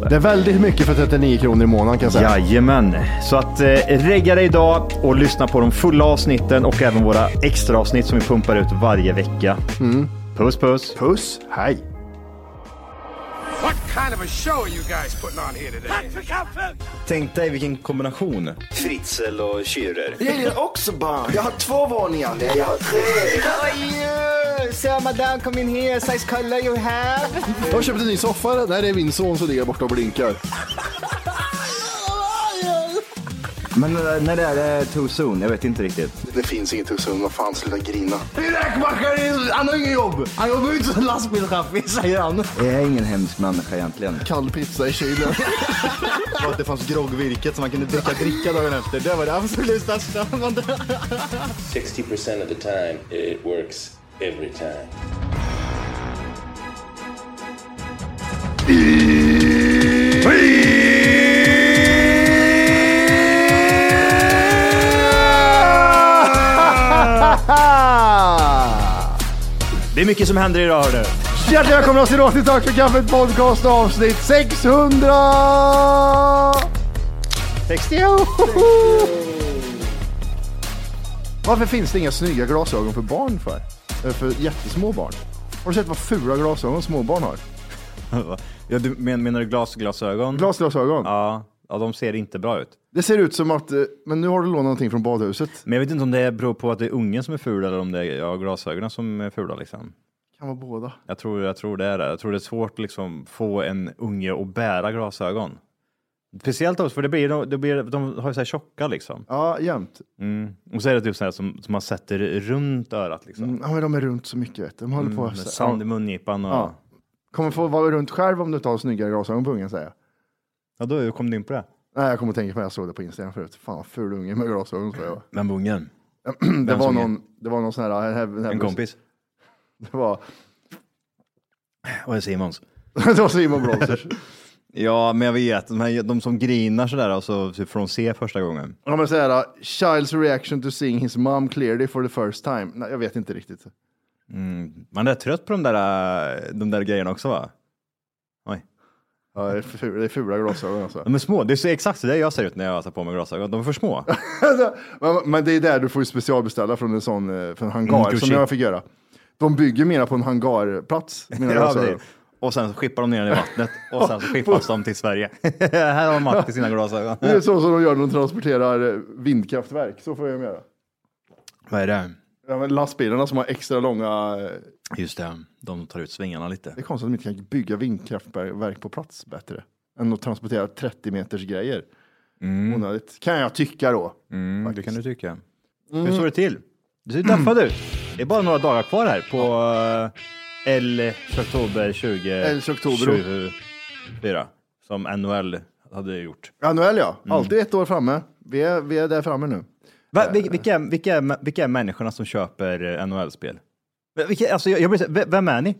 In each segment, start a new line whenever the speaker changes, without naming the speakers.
det.
Det är väldigt mycket för 39 kronor i månaden kan jag säga.
Jajamän, så att eh, regga dig idag och lyssna på de fulla avsnitten och även våra extra avsnitt som vi pumpar ut varje vecka. Puss puss!
Puss, hej.
What kind of a show are you guys putting on here today?
Tänk dig vilken kombination. Fritzel och Schürrer.
Jag gillar också barn. Jag har två våningar. Nej, jag har tre.
How are you? Sir, madame, come in here. Size color you have.
Jag har köpt en ny soffa. eller? Nej, det är min son som ligger borta och blinkar.
Men eh, när det är det too soon? Jag vet inte riktigt.
Det finns inget hos honom. Vad fan, sluta grina.
Räkmackaren, han har inget jobb! Han jobbar ju inte som lastbilschaffis, säger han. Jag är ingen hemsk människa egentligen.
Kall pizza i kylen.
Och att det fanns groggvirket som man kunde dricka dricka dagen efter. Det var det absolut största.
60% of the time, it works every time.
Det är mycket som händer idag hörru.
Ah! Hjärtligt välkomna oss idag till Tack för kaffet podcast avsnitt 600!
60!
Varför finns det inga snygga glasögon för barn för? Eh, För jättesmå barn. Har du sett vad fula glasögon små barn har?
Ja, du men, menar du glasglasögon?
Glasglasögon.
Ja, ja, de ser inte bra ut.
Det ser ut som att, eh, men nu har du lånat någonting från badhuset.
Men jag vet inte om det beror på att det är ungen som är ful eller om det är ja, glasögonen som är fula. Liksom.
Kan vara båda.
Jag, tror, jag tror det är det. Jag tror det är svårt liksom få en unge att bära glasögon. Speciellt också, för det blir, det blir, de har ju så här tjocka liksom.
Ja, jämt.
Och så är det typ så här som, som man sätter runt örat liksom.
Ja, men de är runt så mycket vet du. De håller på
Mm, Med
att...
sand i
Ja.
mungipan och...
Ja.
Alltså, Ja.
Kommer få vara runt själv om du inte har snyggare glasögon på ungen säger jag.
då kom du in på det.
Nej, jag kommer att tänka på det. Jag såg det på Instagram förut. Fan vad ful unge med glasögon tror jag.
Vem var ungen?
Det var
som
någon, det var någon sån här... här, här
En kompis.
Det var,
Och Simons.
det var Simon Bronsers.
Ja, men jag vet. De, här, de som grinar sådär alltså, typ från C första gången.
Ja men såhär, Child's reaction to seeing his mom clearly for the first time. Nej, jag vet inte riktigt.
Man är trött på de där, de där grejerna också va? Oj.
Ja, det, är ful, det är fula glasögon alltså.
De är små. Det är exakt så där jag ser ut när jag tar på mig glasögon. De är för små.
men, men det är där du får ju specialbeställa från en sån eh, från en hangar
Gucci.
som jag fick göra. De bygger mera på en hangarplats. Mina
Ja,
glasögon.
precis. och sen skippas de ner den i vattnet och sen så skippas de till Sverige. här har Matti sina glasögon.
Det är så som de gör när de transporterar eh, vindkraftverk. Så får jag göra.
Vad är det?
Ja, men lastbilarna som har extra långa... eh,
Just det, de tar ut svängarna lite.
Det är konstigt att de inte kan bygga vindkraftverk på plats bättre. Än att transportera 30 meters grejer. Onödigt. Kan jag tycka då.
Mm, det kan du tycka. Mm. Hur står det till? Du ser deffad ut. Det är bara några dagar kvar här på eh, L oktober
11 oktober.
2024 som NHL hade gjort.
Annuell ja,
Mm.
alltid ett år framme. Vi är, vi
Typ
är där framme nu.
eh, Va, vil- vilka, vilka, vilka är människorna som köper eh, NHL-spel? Men vilka- Alltså, jag jag blir så, v- vem är ni?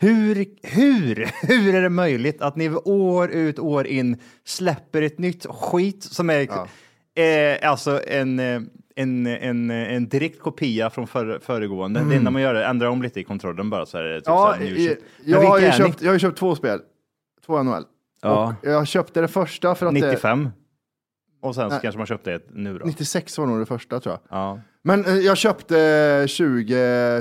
Hur, hur, hur är det möjligt att ni år ut år in släpper ett nytt skit som är eh, alltså en, eh, en, en, en direkt kopia från före, föregående? Det enda man gör är att ändra om lite i kontrollen bara så är det typ
Mm. Ja,
så här, new
eh,
shit. Men
jag, har ju
vilka är ni?
köpt, jag har ju köpt två spel. Två NHL.
Ja.
Och jag köpte det första för att det...
95. Och sen så
Nej.
kanske man köpte ett nu då.
96 var nog det första tror jag.
Ja.
Men eh, jag köpte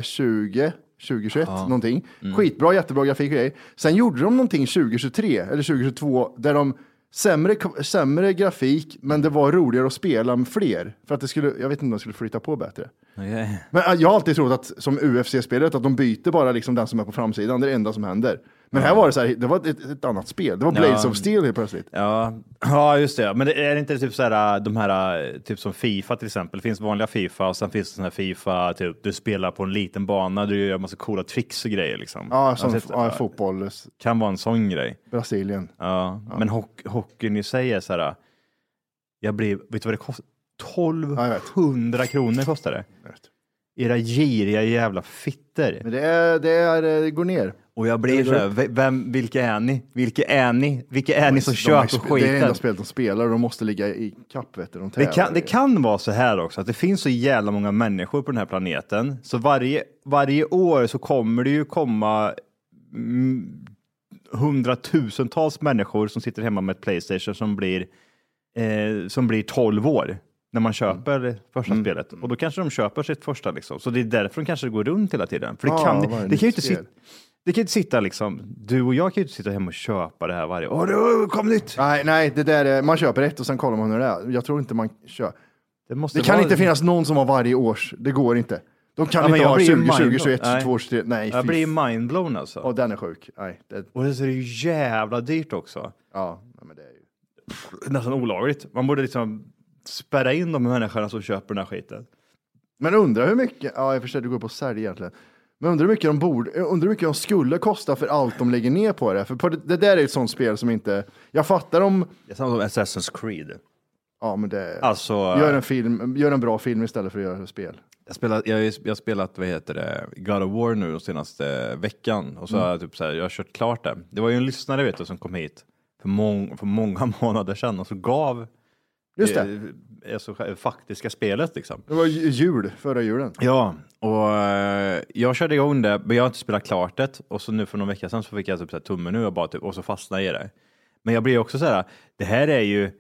2020, 2021 någonting.
Mm.
Skitbra, jättebra grafik och grejer. Sen gjorde de någonting 2023 eller 2022 där de sämre, sämre grafik, men det var roligare att spela med fler. För att det skulle, jag vet inte om de skulle flytta på bättre. Men eh, jag har alltid trott att som UFC-spelet, att de byter bara liksom den som är på framsidan, det är det enda som händer. Men här var det så här, det var ett, ett annat spel. Det var Blaze of Steel helt plötsligt.
Ja. ja, just det. Men det är det inte typ så här, de här, eh, typ som Fifa till exempel, det finns vanliga Fifa och sen finns det sån här Fifa, typ du spelar på en liten bana, du gör massa coola tricks och grejer liksom.
Ja, som
Alltså,
ja,
det
fotboll,
Kan vara en sån grej.
Brasilien.
Ja. Men hock, hockeyn i sig är så här, äh, jag blir, vet du vad det kostar?
jag vet.
1200 kronor kostar det. Era giriga jävla fitter.
Men det, är, det, är, det går ner.
Och jag blir så här, "V- vem, vilka är ni? Vilka är ni? Vilka är ni som
De har ju
köper
sp- Det är det enda
skiten?
spelet de spelar och de måste ligga i kapp. Vet du, de
Det
tävlar
kan, det
i-
kan vara så här också, att det finns så jävla många människor på den här planeten, så varje, varje år så kommer det ju komma mm, hundratusentals människor som sitter hemma med ett Playstation som blir, eh, som blir 12 år när man köper
Mm.
första spelet. Och då kanske de köper sitt första, liksom. så det är därför de kanske går runt hela tiden. För det
Ja,
kan,
vad är det
det kan ju
nytt
inte
spel?
sitta det kan ju inte sitta liksom, du och jag kan ju inte sitta hemma och köpa det här varje år. Åh, det kom nytt!
Nej, nej det där är, man köper ett och sen kollar man hur det är. Jag tror inte man kör.
Det, måste
Det kan
vara-
inte finnas någon som har varje års. Det går inte. De kan
Ja, men
inte
jag
ha
blir ju
20, 20,
mindblown.
21,
Nej.
22, 23. Nej,
Jag
fy
blir ju
f-
mindblown alltså.
Ja, den är sjuk. Nej, det,
Och det är ju jävla dyrt också.
ja, nej, men det är ju.
Nästan olagligt. Man borde liksom spärra in de människorna som köper den här skiten.
Men undrar hur mycket, ja jag förstår det går på sälj egentligen. Men undrar hur mycket de borde, undrar hur mycket de skulle kosta för allt de lägger ner på det. För på det, det där är ett sånt spel som inte, jag fattar om,
Det är samma som Assassin's Creed.
ja men det,
Alltså,
gör en film, gör en bra film istället för att göra spel.
Jag spelat, jag, har ju sp- jag har spelat, vad heter det, God of War nu den senaste veckan och så har jag
Mm.
typ så här, jag har kört klart det. Det var ju en lyssnare vet du som kom hit för, mång, för många månader sedan och så gav
Just det.
eh, alltså, sj- faktiska spelet liksom.
Det var ju- jul, förra julen.
Ja, och eh, jag körde igång det, men jag har inte spelat klart det. Och så nu för någon vecka sedan så fick jag typ så här tummen nu och bara typ, och så fastnade jag i det. Men jag blir också så här, det här är ju,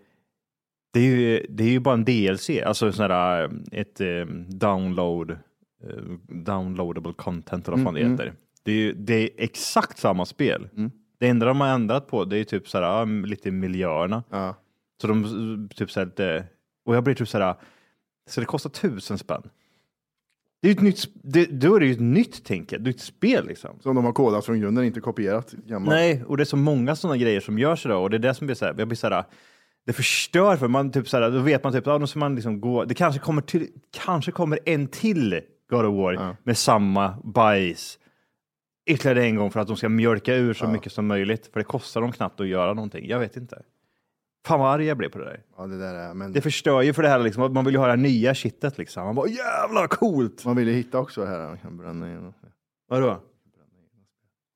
det är ju, det är ju bara en DLC, alltså sån här, eh, ett eh, download, eh, downloadable content eller vad fan det heter. Det är ju det är exakt samma spel. Det enda de har ändrat på, det är ju typ så här, ja, lite miljöerna.
Ja.
Så de eh, typ så här, det, och jag blir typ så här, så det kostar tusen spänn. Det är ju ett nytt, sp- det, då är det ju ett nytt tänker jag, det är ett spel liksom.
Som de har kodat från grunden, inte kopierat. Gammal.
Nej, och det är så många sådana grejer som görs idag och det är det som blir så här, jag blir så här, det förstör för man typ så här, då vet man typ, ja, då ska man liksom gå, det kanske kommer till, kanske kommer en till God of War med samma bajs ytterligare en gång för att de ska mjölka ur så mycket som möjligt, för det kostar dem knappt att göra någonting. Jag vet inte. Fan vad arg jag blev på det där.
Ja, det där är, men
Det förstör ju för det här liksom, att man vill ju ha det här nya kittet liksom. Man bara jävla coolt!
man ville hitta också det här. Man kan bränna igen.
Vadå?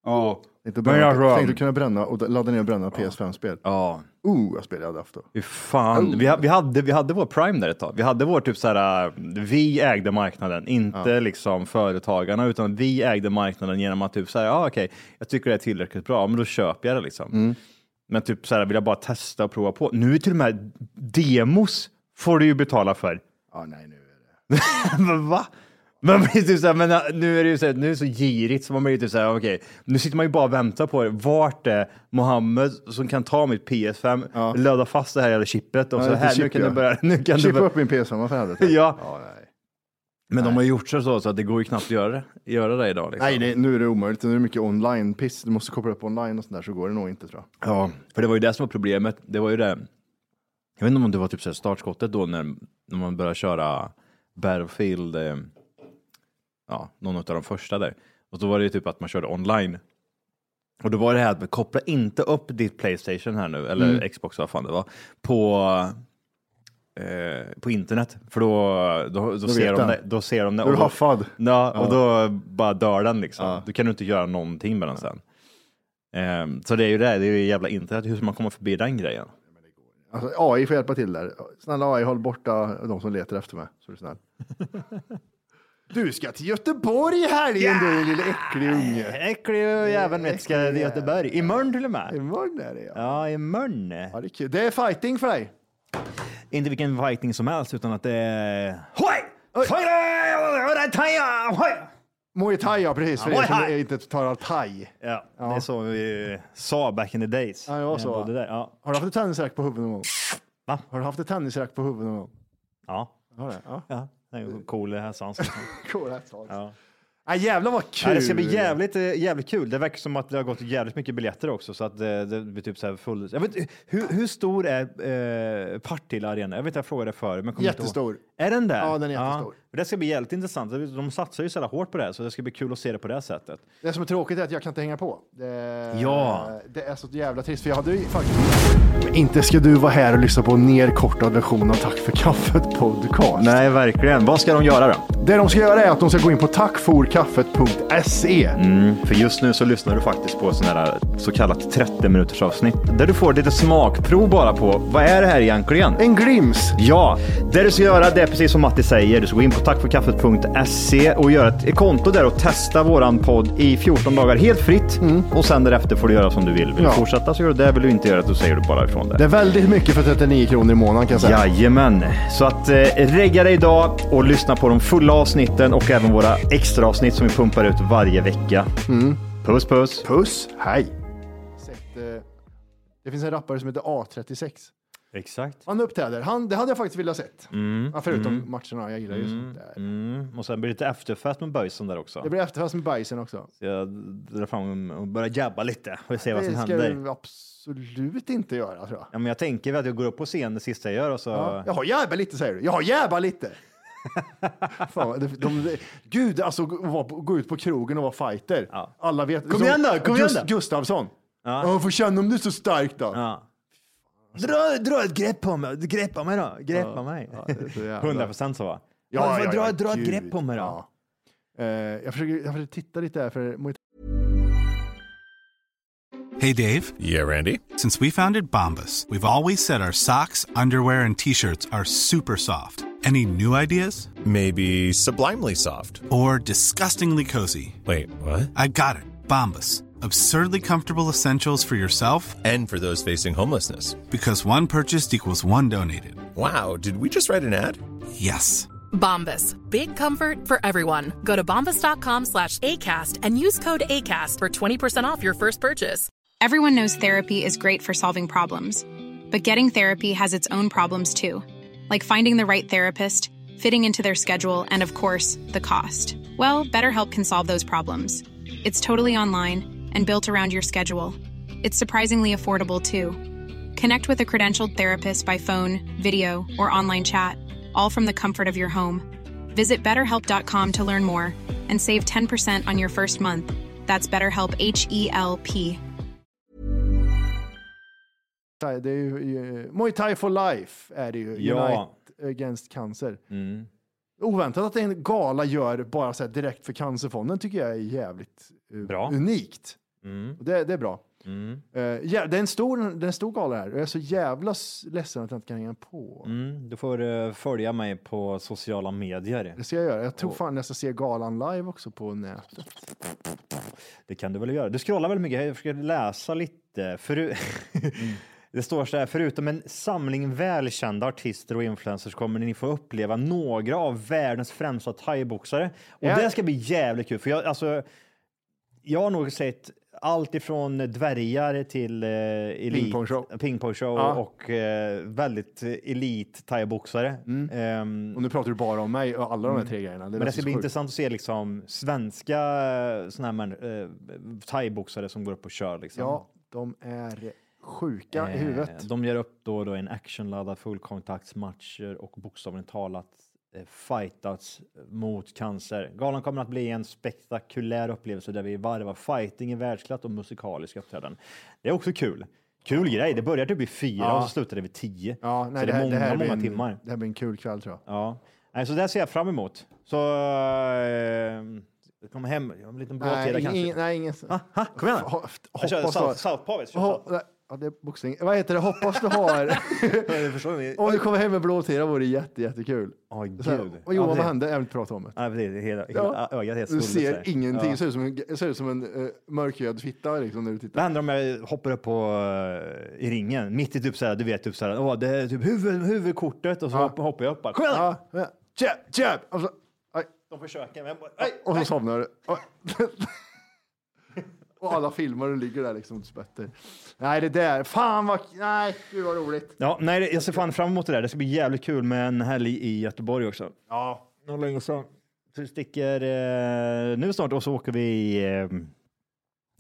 Ja.
Inte
Men jag tror-
bränna, tänkte kunna bränna och ladda ner och bränna PS5-spel.
Ja.
Oh, vad spel jag hade haft då.
Fy fan. Vi, ha- vi, hade, vi hade vår Prime där ett tag. Vi hade vår typ så här, vi ägde marknaden, inte liksom företagarna, utan vi ägde marknaden genom att typ så här, ja ah, okej, jag tycker det är tillräckligt bra, men då köper jag det liksom. Men typ så här, vill jag bara testa och prova på. Nu är till och med demos får du ju betala för.
Ja, nej, nu är det.
Men va? Man blir typ såhär, men äh, nu är det ju såhär, nu är det så girigt så man blir typ såhär, okej, nu sitter man ju bara och väntar på det. Vart är Mohammed som kan ta mitt PS5,
Ja,
löda fast det här jävla chippet och
Ja,
så
lite
här, nu
chip,
kan
ja.
du börja, nu kan du
Alltså, Chippa
börja.
upp min PS5 för helvete.
Ja.
nej.
Men de har gjort så, så att det går ju knappt att göra det, göra det idag. Liksom.
nej, det, nu är det omöjligt. Nu är det mycket online-piss. Du måste koppla upp online och sånt där så går det nog inte tror jag.
Ja, för det var ju det som var problemet. Det var ju det. Jag vet inte om det var typ så här startskottet då när, när man började köra Battlefield, eh, ja, någon av de första där. Och då var det ju typ att man körde online. Och då var det här att koppla
Mm.
inte upp ditt Playstation här nu, eller Xbox vad fan det var, på eh, på internet, för då, då, då, ser,
vet
de
den.
det, då ser de det.
Då är du
och då-
haffad.
Ja, och då bara dör den liksom. Då kan du inte göra någonting med den sen. Ehm, så det är ju det, det är ju jävla internet, hur ska man komma förbi den grejen?
Alltså, AI får hjälpa till där. Snälla AI, håll borta de som letar efter mig. Så är du snäll. Du ska till Göteborg i helgen du lille äcklig unge.
Äcklig jäveln vet ska till Göteborg. Imorgon till och med.
Imorgon är det ja.
Ja, imorgon.
ja det, är kul. det är fighting för dig.
Inte vilken fighting som helst, utan att det är...
Muay thai ja, precis. För
Ja,
er
muay
som
thai.
inte talar thai.
Ja, det är så vi sa back in the days. Eh,
Ja, det var så, va?
Både där, ja.
Har du haft ett tennisrack på huvudet någon gång?
Va?
Har du haft ett tennisrack på huvudet någon gång?
Ja.
Har du? Ja.
ja. Det är en cool här sans.
Cool, that's all.
Ja.
Ah, jävlar vad kul.
Ja, det ska bli jävligt, eh, jävligt kul. Det verkar som att det har gått jävligt mycket biljetter också. Så att det, det blir typ så här full... Jag vet, inte, hur, hur stor är eh, Partille Arena? Jag vet inte, jag frågade det förut. Men kommer inte ihåg.
Jättestor.
Är den där?
Ja, den är jättestor.
Det ska bli jävligt intressant. De satsar ju så jävla hårt på det här, så det ska bli kul att se det på det här sättet.
Det som är tråkigt är att jag kan inte hänga på. Det,
Ja.
det är så jävla trist för jag hade ju faktiskt... Men inte ska du vara här och lyssna på en nedkortad version av Tack för kaffet podcast.
Nej, verkligen. Vad ska de göra då?
Det de ska göra är att de ska gå in på tackforkaffet.se.
För just nu så lyssnar du faktiskt på sådana här eh, så kallat 30 minuters avsnitt där du får lite smakprov bara på vad är det här egentligen?
En glims.
Ja, det du ska göra det är precis som Matti säger. Du ska gå in på tackforkaffet.se och göra ett konto där och testa våran podd i 14 dagar helt fritt. Och sen därefter får du göra som du vill. Vill du
Mm. Ja.
fortsätta så gör du det. Vill du inte göra det så säger du bara ifrån det.
Det är väldigt mycket för 39 kronor i månaden kan jag säga.
Jajamän, så att eh, regga dig idag och lyssna på de fulla avsnitten och även våra extra avsnitt som vi pumpar ut varje vecka.
Mm.
Puss puss!
Puss, hej. Sett, eh, det finns en rappare som heter A36.
Exakt.
Han uppträder. Han, det hade jag faktiskt velat sett.
Mm.
Ja, förutom matcherna, jag gillar ju sånt där.
Och sen blir det lite efterfest med böjsen där också.
Det blir efterfest med bajsen också.
Jag drar fram och börjar jabba lite och se vad som
det ska
händer.
vi absolut inte göra tror jag.
Ja, men jag tänker väl att jag går upp på scen det sista jag gör och så...
Ja. Jag har jävla lite säger du. Jag har jävla lite. Fan, de, de, gud, alltså gå- vara på- gå ut på krogen och vara fighter.
Ja.
Alla vet.
Kom igen då, kom igen då.
Gustavsson. Ja. får känna om du är så stark då.
Ja. Dra, dra ett grepp på mig, greppa mig då, greppa mig.
Ja, det är så jävla-
100 procent så va?
Ja,
Varför
ja,
dra,
ja,
dra ett
gud.
grepp på mig då.
Ja. Eh, jag, försöker, jag försöker titta lite där för Muay
Hey, Dave.
Yeah, Randy.
Since we founded Bombus, we've always said our socks, underwear, and t shirts are super soft. Any new ideas?
Maybe sublimely soft.
Or disgustingly cozy?
Wait, what?
I got it. Bombus. Absurdly comfortable essentials for yourself
And for those facing homelessness.
because one purchased equals one donated.
Wow, did we just write an ad?
Yes.
Bombas. Big comfort for everyone. Go to bombas.com slash ACAST and use code ACAST for 20% off your first purchase.
Everyone knows therapy is great for solving problems, but getting therapy has its own problems too, like finding the right therapist, fitting into their schedule, and of course, the cost. Well, BetterHelp can solve those problems. It's totally online and built around your schedule. It's surprisingly affordable too. Connect with a credentialed therapist by phone, video, or online chat, all from the comfort of your home. Visit betterhelp.com to learn more and save 10% on your first month. That's BetterHelp H E L P.
Thai, det är ju, ju, Muay Thai for Life är det ju.
Ja.
Unite Against Cancer.
Mm,
Oväntat att en gala gör bara så här direkt för Cancerfonden tycker jag är jävligt eh,
Bra. Mm.
unikt. Och Det, det är bra. Eh, ja, det, är en stor, det är en stor gala här och jag är så jävla s- ledsen att jag inte kan hänga på.
Mm, du får eh, följa mig på sociala medier.
Det ska jag göra. Jag tror fan jag ska se galan live också på nätet.
Det kan du väl göra. Du scrollar väl mycket? Jag försöker läsa lite. Föru...
Mm.
Det står så här, förutom en samling välkända artister och influencers kommer ni få uppleva några av världens främsta thaiboxare. Och
Ja.
det ska bli jävligt kul, för jag, alltså, jag har nog sett allt ifrån dvärgar till eh, elit,
Pingpongshow.
pingpongshow
Ja.
och eh, väldigt eh, elit thaiboxare.
Mm.
Ehm,
Och nu pratar du bara om mig och alla de här tre grejerna. Det
Mm. men det
låter
ska
så
bli
sjukt.
intressant att se liksom svenska eh, såna här män, eh, thaiboxare som går upp och kör. Liksom.
Ja, de är sjuka i huvudet.
Eh, De gör upp då, och då en actionladdad fullkontaktsmatcher och bokstavligt talat eh, fightats mot cancer. Galan kommer att bli en spektakulär upplevelse där vi varvar fighting i världsklass och musikalisk uppträden. Det är också kul. Kul grej. Det började typ vid fyra
Ja.
och så slutade det vid tio.
Ja, nej,
så
det,
det är
här,
många,
det, här blir
många
en,
timmar.
det här blir en kul kväll tror jag.
Ja. Nej, så det ser jag fram emot. Så... Eh, kom hem. Jag har en liten bra
Nej,
tera
ingen,
kanske.
ingen, nej, ingen...
Ha, ha, kom igen.
Ho-
Jag kör
hoppas du har-
South- Southpaw, vet du, kör
Ho- nej, Ja, det är boxning. Vad heter det? Hoppas du har...
Jag förstår inte.
Om du kommer hem med blå tira vore det jätte, jättekul.
Åh,
Så här,
gud.
Och
Ja,
Johan,
det-
vad hände? Jag vill inte prata om det.
Ja, det är hela, hela
Ja.
ögat är helt
Du
svullet
ser
så här.
ingenting.
Ja.
Ser ut som en, ser ut som en eh, mörkhyad fitta liksom, när du tittar.
Vad händer om jag hoppar upp på, eh, i ringen, mitt i typ såhär, du vet typ såhär, åh, det är typ huvud, huvudkortet och så hoppar- hoppar jag upp bara, kom igen!
Ja, ja. Alltså, Jab, jab! Och så, aj,
De försöker, men jag bara, aj,
och så
aj.
somnar du. Och- Och alla filmer och ligger där liksom och spötter. Nej, det där. Fan vad... Nej, gud vad roligt.
Ja, nej, det- jag ser fan fram emot det där. Det ska bli jävligt kul med en helg i Göteborg också.
Ja.
Det var länge sedan. Så vi sticker eh, nu snart och så åker vi eh,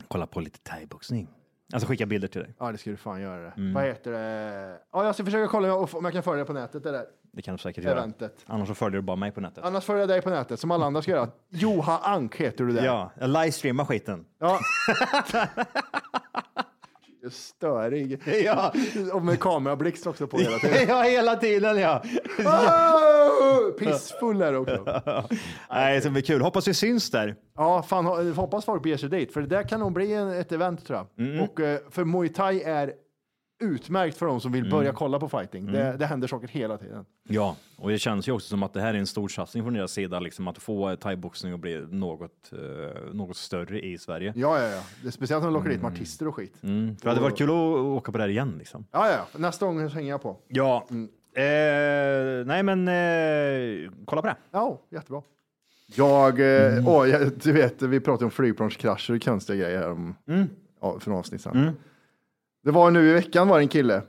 kolla på lite thaiboxning. Alltså skicka bilder till dig.
Ja, det ska du fan göra.
Mm.
Vad heter det? Ja, jag ska försöka kolla om jag kan följa det på nätet. Det där.
Det kan du säkert göra.
Eventet.
Annars så följer du bara mig på nätet.
Annars följer jag dig på nätet som alla andra ska göra. Joha Ank heter du där.
Ja, jag livestreamar skiten.
Ja. Störig.
Ja.
Och med kamerablixt också på hela tiden.
ja, hela tiden ja.
Oh! Pissfull är du också.
Nej, det blir kul. Hoppas vi syns där.
Ja, fan, ho- hoppas folk beger sig dit, för det där kan nog bli en, ett event tror jag. Och eh, för muay thai är utmärkt för de som vill börja kolla på fighting. Det, det händer saker hela tiden.
Ja, och det känns ju också som att det här är en stor satsning från deras sida, liksom att få thaiboxning att bli något, eh, något större i Sverige.
Ja, ja, ja. Det är speciellt när de lockar dit med artister och skit.
För det hade varit kul att åka på det här igen liksom.
Ja, ja, ja. Nästa gång hänger jag på.
Ja, mm. eh, nej men eh, kolla på det.
Ja, jättebra. Jag, eh, åh, jag, du vet, vi pratade om flygplanskrascher och konstiga grejer här om, ja, för några avsnitt sedan. Det var nu i veckan var det en kille,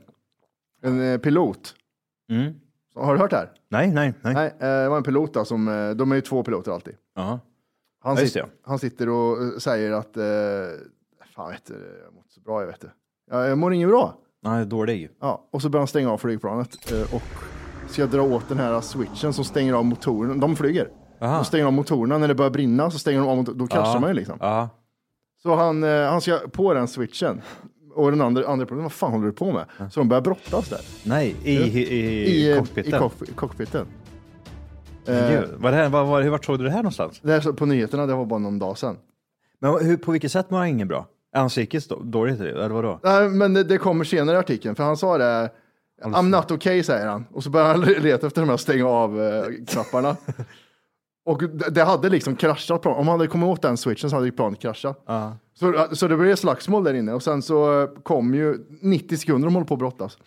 en eh, pilot.
Mm.
Har du hört det här?
Nej, nej, nej.
Nej, eh, det var en pilot då, som, eh, de är ju två piloter alltid.
Ja.
Han,
Ja, just
sitter,
det,
han sitter och eh, säger att, eh, fan vet du, jag mår inte så bra, jag vet det. Jag, jag mår inget bra.
Nej, dålig.
Ja, och så börjar han stänga av flygplanet eh, och ska dra åt den här switchen som stänger av motorerna. De flyger. De stänger av motorerna när det börjar brinna, så stänger de av motor- Då kraschar man ju liksom.
Ja.
Så han, eh, han ska på den switchen. Och den andra, andra piloten, vad fan håller du på med? Så de börjar brottas där.
Nej, i, i, i, eh.
eh,
cockpiten.
I cock- cockpiten. Eh,
Gud, vad det här, vad, vad, hur vart såg du det här någonstans?
Det här så på nyheterna, det var bara någon dag sedan.
Men hur, på vilket sätt mår han ingen bra? Är han psykiskt då- dåligt eller vadå?
Nej, men det, det kommer senare i artikeln, för han sa det. I'm not okay, säger han. Och så börjar han leta efter de här stänga av-knapparna. och det, det hade liksom kraschat plan. Om han hade kommit åt den switchen så hade ju planet kraschat. Så, eh, så det blev slagsmål där inne och sen så eh, kom ju 90 sekunder de håller på att brottas.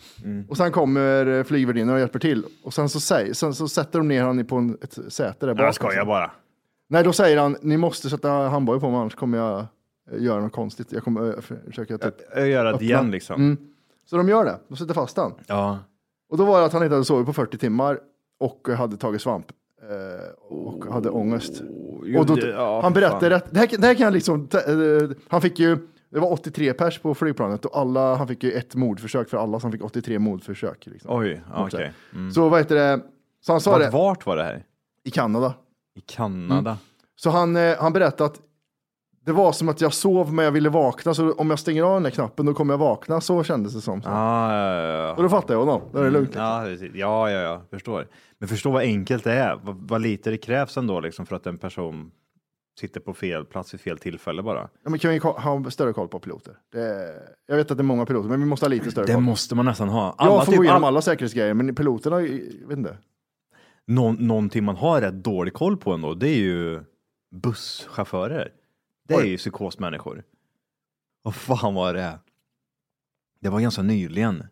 Och sen kommer eh, flygvärdinnan och hjälper till. Och sen så, säger, sen så sätter de ner honom på en, ett säte där bak.
bara.
Nej, då säger han, ni måste sätta handbojor på mig annars kommer jag eh, göra något konstigt. Jag kommer eh, försöka typ...
Jag gör det
Öppna.
igen liksom.
Så de gör det, de sätter fast han.
Ja.
Och då var det att han inte hade sovit på 40 timmar och hade tagit svamp. eh, Och hade ångest. Och då,
Oh, det-
han
ja, för fan.
berättade att, det här, det här kan jag liksom, eh, han fick ju, det var 83 pers på flygplanet och alla, han fick ju ett mordförsök för alla, så han fick 83 mordförsök. Liksom.
Oj, ja, okej.
Så vad heter det, så han sa
Vart,
det,
vart var det Mm. här?
i Kanada.
I Kanada?
Så han, eh, han berättade att det var som att jag sov men jag ville vakna, så om jag stänger av den där knappen då kommer jag vakna, så kändes det som.
Ah, ja, ja, ja.
Och då fattar jag honom, då är det lugnt. liksom.
Mm, Ja, precis. ja, ja, ja, förstår. Men förstå vad enkelt det är, vad, vad lite det krävs ändå liksom för att en person sitter på fel plats vid fel tillfälle bara.
Ja, men kan vi ko- ha större koll på piloter? Det är, jag vet att det är många piloter, men vi måste ha lite större
Det
koll.
måste man nästan ha. typ
jag får gå igenom
all-
alla säkerhetsgrejer, men piloterna, jag vet inte.
Nå, någonting man har rätt dålig koll på ändå, det är ju busschaufförer. Det är
Oj.
ju psykosmänniskor. Vad fan var det? Det var ganska nyligen.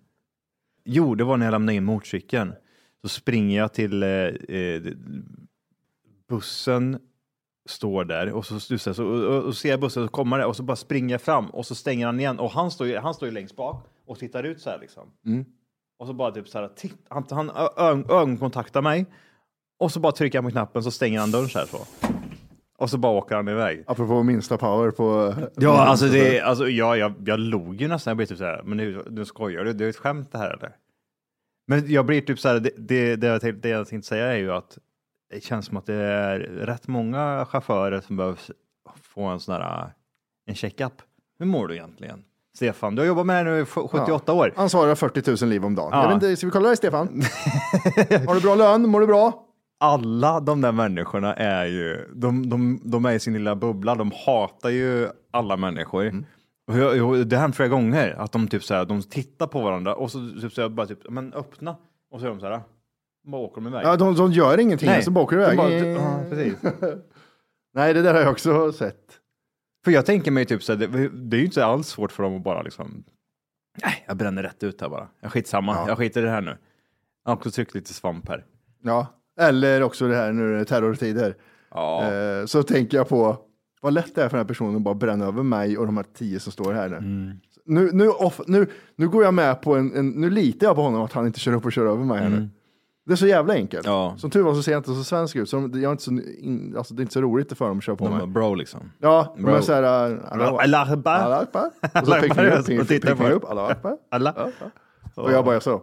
Jo, det var när jag lämnade in motorcykeln. Så springer jag till eh, eh, bussen, står där och så snusar jag så, och, och, och ser jag bussen så kommer det och så bara springer jag fram och så stänger han igen och han står ju, han står ju längst bak och tittar ut så här liksom. Och så bara typ så här, titt, han, han ö- ö- ögonkontaktar mig och så bara trycker han på knappen så stänger han dörren så här så. Och så bara åker han iväg.
Apropå minsta power på...
Ja, alltså, det, alltså jag, jag, jag log ju nästan. Jag blev typ så här, men nu, nu skojar du, det är ett skämt det här eller? Men jag blir typ så här, det, det, det, jag, tänkte, det jag tänkte säga är ju att det känns som att det är rätt många chaufförer som behöver få en sån här, en checkup. Hur mår du egentligen? Stefan, du har jobbat med det här nu i sj- 78 år.
Han svarar 40 000 liv om dagen.
Ja.
Jag vet inte, ska vi kolla dig Stefan? har du bra lön? Mår du bra?
Alla de där människorna är ju, de, de, de är i sin lilla bubbla, de hatar ju alla människor.
Mm.
Och jag, jag, det har hänt flera gånger att de typ så här, de tittar på varandra och så typ så här, bara typ, men öppna. Och så är de så här, bara åker de iväg.
Ja, de, de gör ingenting,
Nej,
så bakar du
de
iväg.
bara- ja, precis.
Nej, det där har jag också sett.
För jag tänker mig typ så här, det, det är ju inte alls svårt för dem att bara liksom, nej, jag bränner rätt ut här bara. Jag skitsamma, jag skiter i det här nu. Jag har också tryckt lite svamp här.
Ja, eller också det här nu när det är terrortider. Eh, så tänker jag på vad lätt det är för den här personen att bara bränna över mig och de här tio som står här nu.
Mm.
Nu, nu, off, nu, nu går jag med på en, en, nu litar jag på honom att han inte kör upp och kör över mig här
Mm.
nu. Det är så jävla enkelt. Som tur var så ser jag inte så svensk ut, så de, jag är inte så, in, alltså, det är inte så roligt för dem att köra på
De
mig.
bara, bro liksom.
Ja,
Bro.
de är så här... äh,
Bro, alla akbar.
Alla akbar. Och så pekar
Alla
jag
akbar.
upp, pekar-
Och tittar
pekar
på-
upp, alla akbar.
Alla.
Och jag bara så.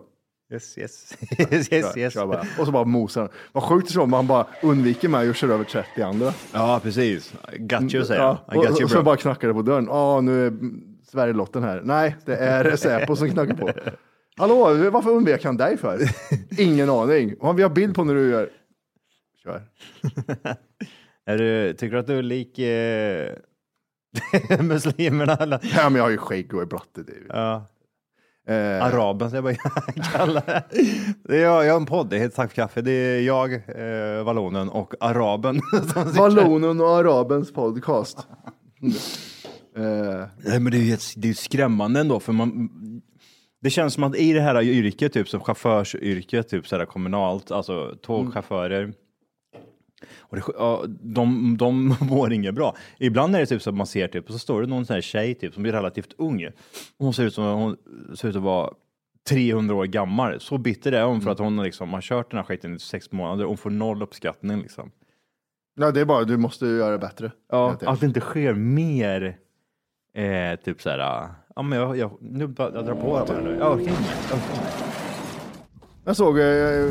Yes, yes. yes, yes,
Kör,
yes.
kör bara. Och så bara mosar han. Vad sjukt det skulle vara om han bara undviker mig och kör över 30 andra.
Ja, precis. Got you, säger
Mm, Ja,
jag. I got
och,
you,
och så
bro.
bara knackar det på dörren. Ja, nu är mm, Sverigelotten här. Nej, det är Säpo som knackar på. Hallå, varför undvek han dig för? Ingen aning. Och vi har bild på när du gör... Kör.
Är du, tycker du att du är lik eh, muslimerna? Eller?
Ja, men jag har ju skägg och är blatte. Det är ju.
Ja.
Eh,
Araben, så jag bara kallar det. Är jag, jag har en podd, det heter Tack för kaffe. Det är jag, eh, vallonen och araben. som sitter-
Vallonen och Arabens podcast. Eh,
Nej, men det är ju ett- det är ju skrämmande ändå, för man... Det känns som att i det här yrket, typ som chaufförsyrket, typ så här kommunalt, alltså tågchaufförer, och det, ja, de, de mår inget bra. Ibland är det typ så att man ser typ, och så står det någon sån här tjej typ som är relativt ung. Hon ser ut som hon ser ut att vara 300 år gammal. Så bitter är hon för att hon liksom har kört den här skiten i sex månader och hon får noll uppskattning liksom.
ja, det är bara, du måste ju göra det bättre.
Ja,
Helt enkelt.
att det inte sker mer eh, typ så här. Ja, men jag, jag, nu bara, jag drar på det här nu. Jag orkar inte mer. Jag orkar inte mer.
Jag såg... eh, ja.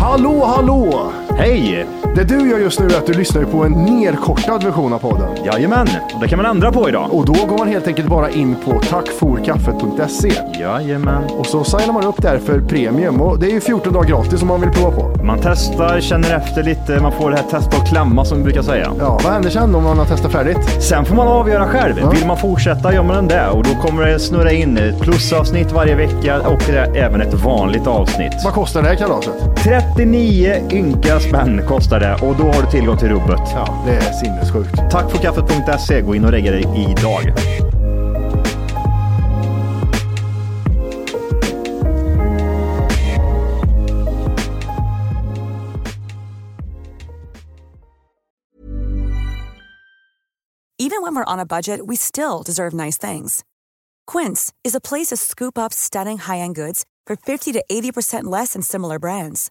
Hallå, hallå!
Hej!
Det du gör just nu är att du lyssnar på en nerkortad version av podden.
Jajamän, det kan man ändra på idag.
Och då går man helt enkelt bara in på tackforkaffet.se
Oh, Jajamän.
och så signar man upp där för premium. Och det är ju 14 dagar gratis om man vill prova på.
Man testar, känner efter lite, man får det här testa och klämma som vi brukar säga.
Ja, vad händer sen om man har testat färdigt?
Sen får man avgöra själv. Vill man fortsätta gör man det och då kommer det snurra in ett plusavsnitt varje vecka och det är även ett vanligt avsnitt.
Vad kostar det här kalaset?
39 ynka spänn kostar det och då har du tillgång till rubbet.
Ja, det är sinnessjukt.
Tack för kaffet.se. E. Gå in och lägg dig idag.
Even when we're on a budget, we still deserve nice things. Quince is a place to scoop up stunning high-end goods for 50 to 80% less than similar brands.